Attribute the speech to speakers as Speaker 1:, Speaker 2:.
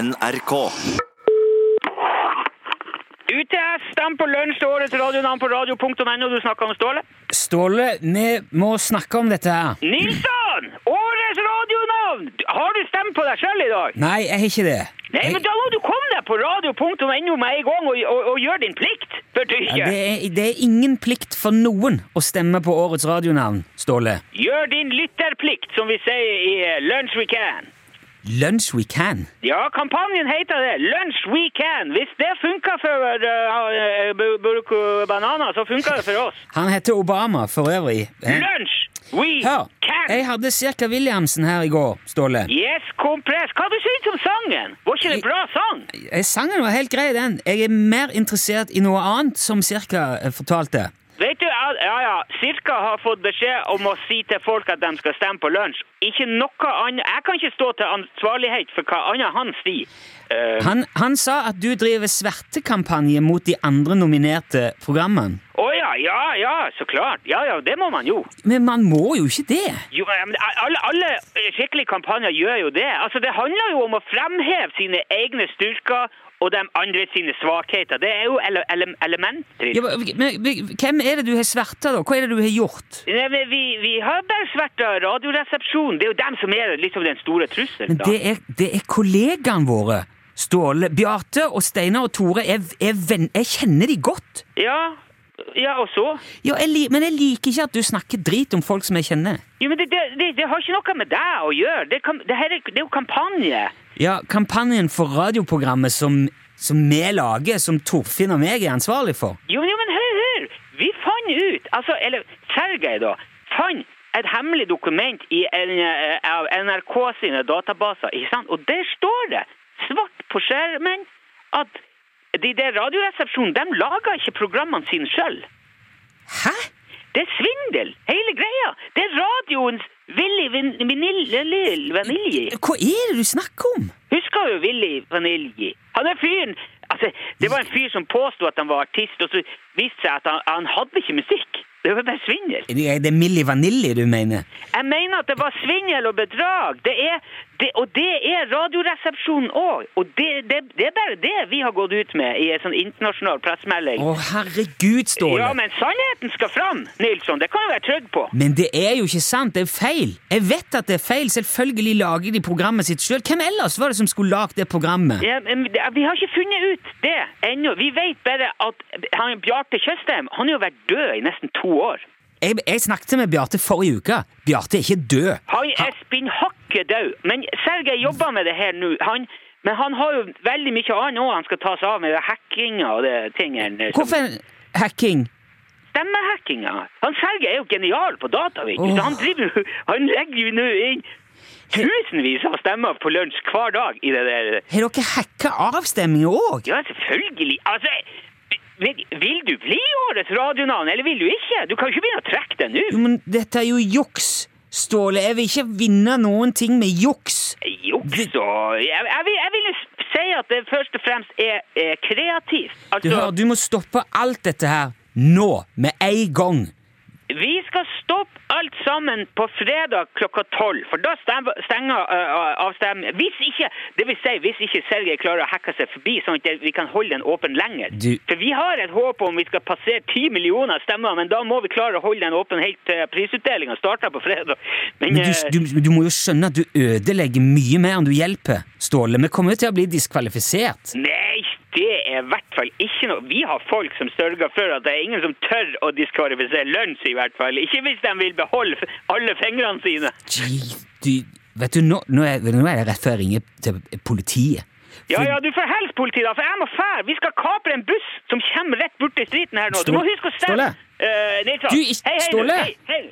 Speaker 1: NRK.
Speaker 2: UTS, stem på lunsj til årets radionavn på radio.no. Du snakker om Ståle.
Speaker 3: Ståle, vi må snakke om dette her.
Speaker 2: Nilsson! Årets radionavn! Har du stemt på deg sjøl i dag?
Speaker 3: Nei, jeg har ikke det.
Speaker 2: Nei, men da må du komme deg på radio.no med en gang og, og, og gjøre din plikt. Bør du
Speaker 3: Ja,
Speaker 2: ikke?
Speaker 3: det, er, det er ingen plikt for noen å stemme på årets radionavn, Ståle.
Speaker 2: Gjør din lytterplikt, som vi sier i eh, Lunch We Can.
Speaker 3: Lunch we can.
Speaker 2: Ja, kampanjen heter det. Lunch We Can. Hvis det funker for uh, Burko Banana, så funker det for oss.
Speaker 3: Han heter Obama for øvrig. Eh,
Speaker 2: Lunch We
Speaker 3: Hør,
Speaker 2: Can.
Speaker 3: jeg hadde Cirka Williamsen her i går, Ståle.
Speaker 2: Yes, kompress. Hva du syns om sangen? Var ikke det en bra sang?
Speaker 3: Eh, Sangen var helt grei, den. Jeg er mer interessert i noe annet, som Cirka eh, fortalte.
Speaker 2: Vet du, ja, ja, ja, Cirka har fått beskjed om å si til folk at de skal stemme på lunsj. Ikke noe annet. Jeg kan ikke stå til ansvarlighet for hva annet han sier. Eh,
Speaker 3: Han, han sa at du driver svertekampanje mot de andre nominerte programmene.
Speaker 2: Å ja, ja, ja, så klart. Ja, ja, det må man jo.
Speaker 3: Men man må jo ikke det.
Speaker 2: jo ja, men alle, alle skikkelige kampanjer gjør jo det. Altså, Det handler jo om å fremheve sine egne styrker og de andre sine svakheter. Det er jo ele ele elementer.
Speaker 3: Ja, men, men, hvem er det du har sverta, da? Hva er det du har gjort?
Speaker 2: Nei, men vi, vi har bare svært av radioresepsjonen. Det er jo dem som er liksom den store trusselen.
Speaker 3: Men
Speaker 2: da.
Speaker 3: det er, det er kollegaene våre. Ståle, Bjarte og Steinar og Tore er, er venn... Jeg kjenner de godt.
Speaker 2: Ja, ja, og så?
Speaker 3: Ja, jeg li, men jeg liker ikke at du snakker drit om folk som jeg kjenner.
Speaker 2: Jo, men det, det, det, det har ikke noe med deg å gjøre. Det, kan, det, her er, det er jo kampanje.
Speaker 3: Ja, kampanjen for radioprogrammet som, som vi lager, som Torfinn og meg er ansvarlig for.
Speaker 2: Jo, men- jo, men hør, hør! Vi fant ut, altså, eller Sergei da, fant et hemmelig dokument i en, eh, av NRK sine databaser, ikke sant? Og der står det, svart på skjermen, at de der radioresepsjonen, de lager ikke programmene sine selv.
Speaker 3: Hæ?
Speaker 2: Det er svindel, hele greia. Det er radioens Willy Vin- Vanilli- Vanilli.
Speaker 3: Hva er det du snakker om?
Speaker 2: Husker du Willy Vanilli? Han er fyren Altså, det var en fyr som påstod at han var artist, og så viste det seg at han, han hadde ikke musikk. Det var bare svindel.
Speaker 3: Er Det det er Milli Vanilli du mener?
Speaker 2: Jeg mener at det var svindel og bedrag. Det er, det, og det er Radioresepsjonen òg. Og det, det, det er bare det vi har gått ut med i en sånn internasjonal pressemelding.
Speaker 3: Å, herregud, Ståle.
Speaker 2: ja, men sannheten skal fram, Nilsson. Det kan du være trygg på.
Speaker 3: Men det er jo ikke sant, det er feil. Jeg vet at det er feil, selvfølgelig lager de programmet sitt sjøl. Hvem ellers var det som skulle lagd det programmet?
Speaker 2: Ja, men det- vi har ikke funnet ut det ennå. Vi vet bare at han Bjarte Tjøstheim han har jo vært død i nesten to år.
Speaker 3: Jeg, jeg snakket med Bjarte forrige uke. Bjarte er ikke død.
Speaker 2: Han er spinnhakke død. Men Sergej jobber med det her nå. Han, men han har jo veldig mye annet òg han skal ta seg av med. det Hackinga og det tingene. som-
Speaker 3: Hvorfor en hacking?
Speaker 2: Stemmehackinga. Han Sergej er jo genial på data, vet du. Så
Speaker 3: Åh.
Speaker 2: Han, driver, jo- han legger jo nå inn tusenvis av stemmer på lunsj hver dag i det der.
Speaker 3: Har dere hacka avstemninger òg?
Speaker 2: Ja, selvfølgelig. Altså men vil du bli årets radionavn, eller vil du ikke? Du kan jo ikke begynne å trekke det nå.
Speaker 3: Jo, men dette er jo juks, Ståle. Jeg vil ikke vinne noen ting med juks.
Speaker 2: Juks og jeg, jeg, vil, jeg vil jo si at det først og fremst er, er kreativt.
Speaker 3: Du,
Speaker 2: Altså,
Speaker 3: hører, du må stoppe alt dette her nå, med en gang.
Speaker 2: vi skal stoppe alt sammen på fredag klokka tolv, for da stem- stenger uh, avstemningen. Hvis ikke, det vil si hvis ikke Sergej klarer å hacke seg forbi, sånn at vi kan holde den åpen lenger.
Speaker 3: Du-
Speaker 2: For vi har et håp om vi skal passere ti millioner stemmer, men da må vi klare å holde den åpen helt til prisutdelingen starter på fredag. Men,
Speaker 3: Men
Speaker 2: eh,
Speaker 3: du, du, du må jo skjønne at du ødelegger mye mer enn du hjelper, Ståle. Vi kommer jo til å bli diskvalifisert.
Speaker 2: Nei, det er i hvert fall ikke noe Vi har folk som sørger for at det er ingen som tør å diskvalifisere lunsj, i hvert fall. Ikke hvis de vil beholde f- alle fingrene sine.
Speaker 3: Gee, du, vet du, nå, nå, er, nå er det rett før jeg ringer til politiet.
Speaker 2: Ja, ja, du får helst politi, da, for jeg må fære. Vi skal kapre en buss som kommer rett borti streeten her nå. Du må
Speaker 3: Ståle-
Speaker 2: huske å stemme.
Speaker 3: Ståle?
Speaker 2: Eh, Nilsson.
Speaker 3: Du, ikke-
Speaker 2: hei, hei, du.
Speaker 3: Ståle?
Speaker 2: Hei, hei.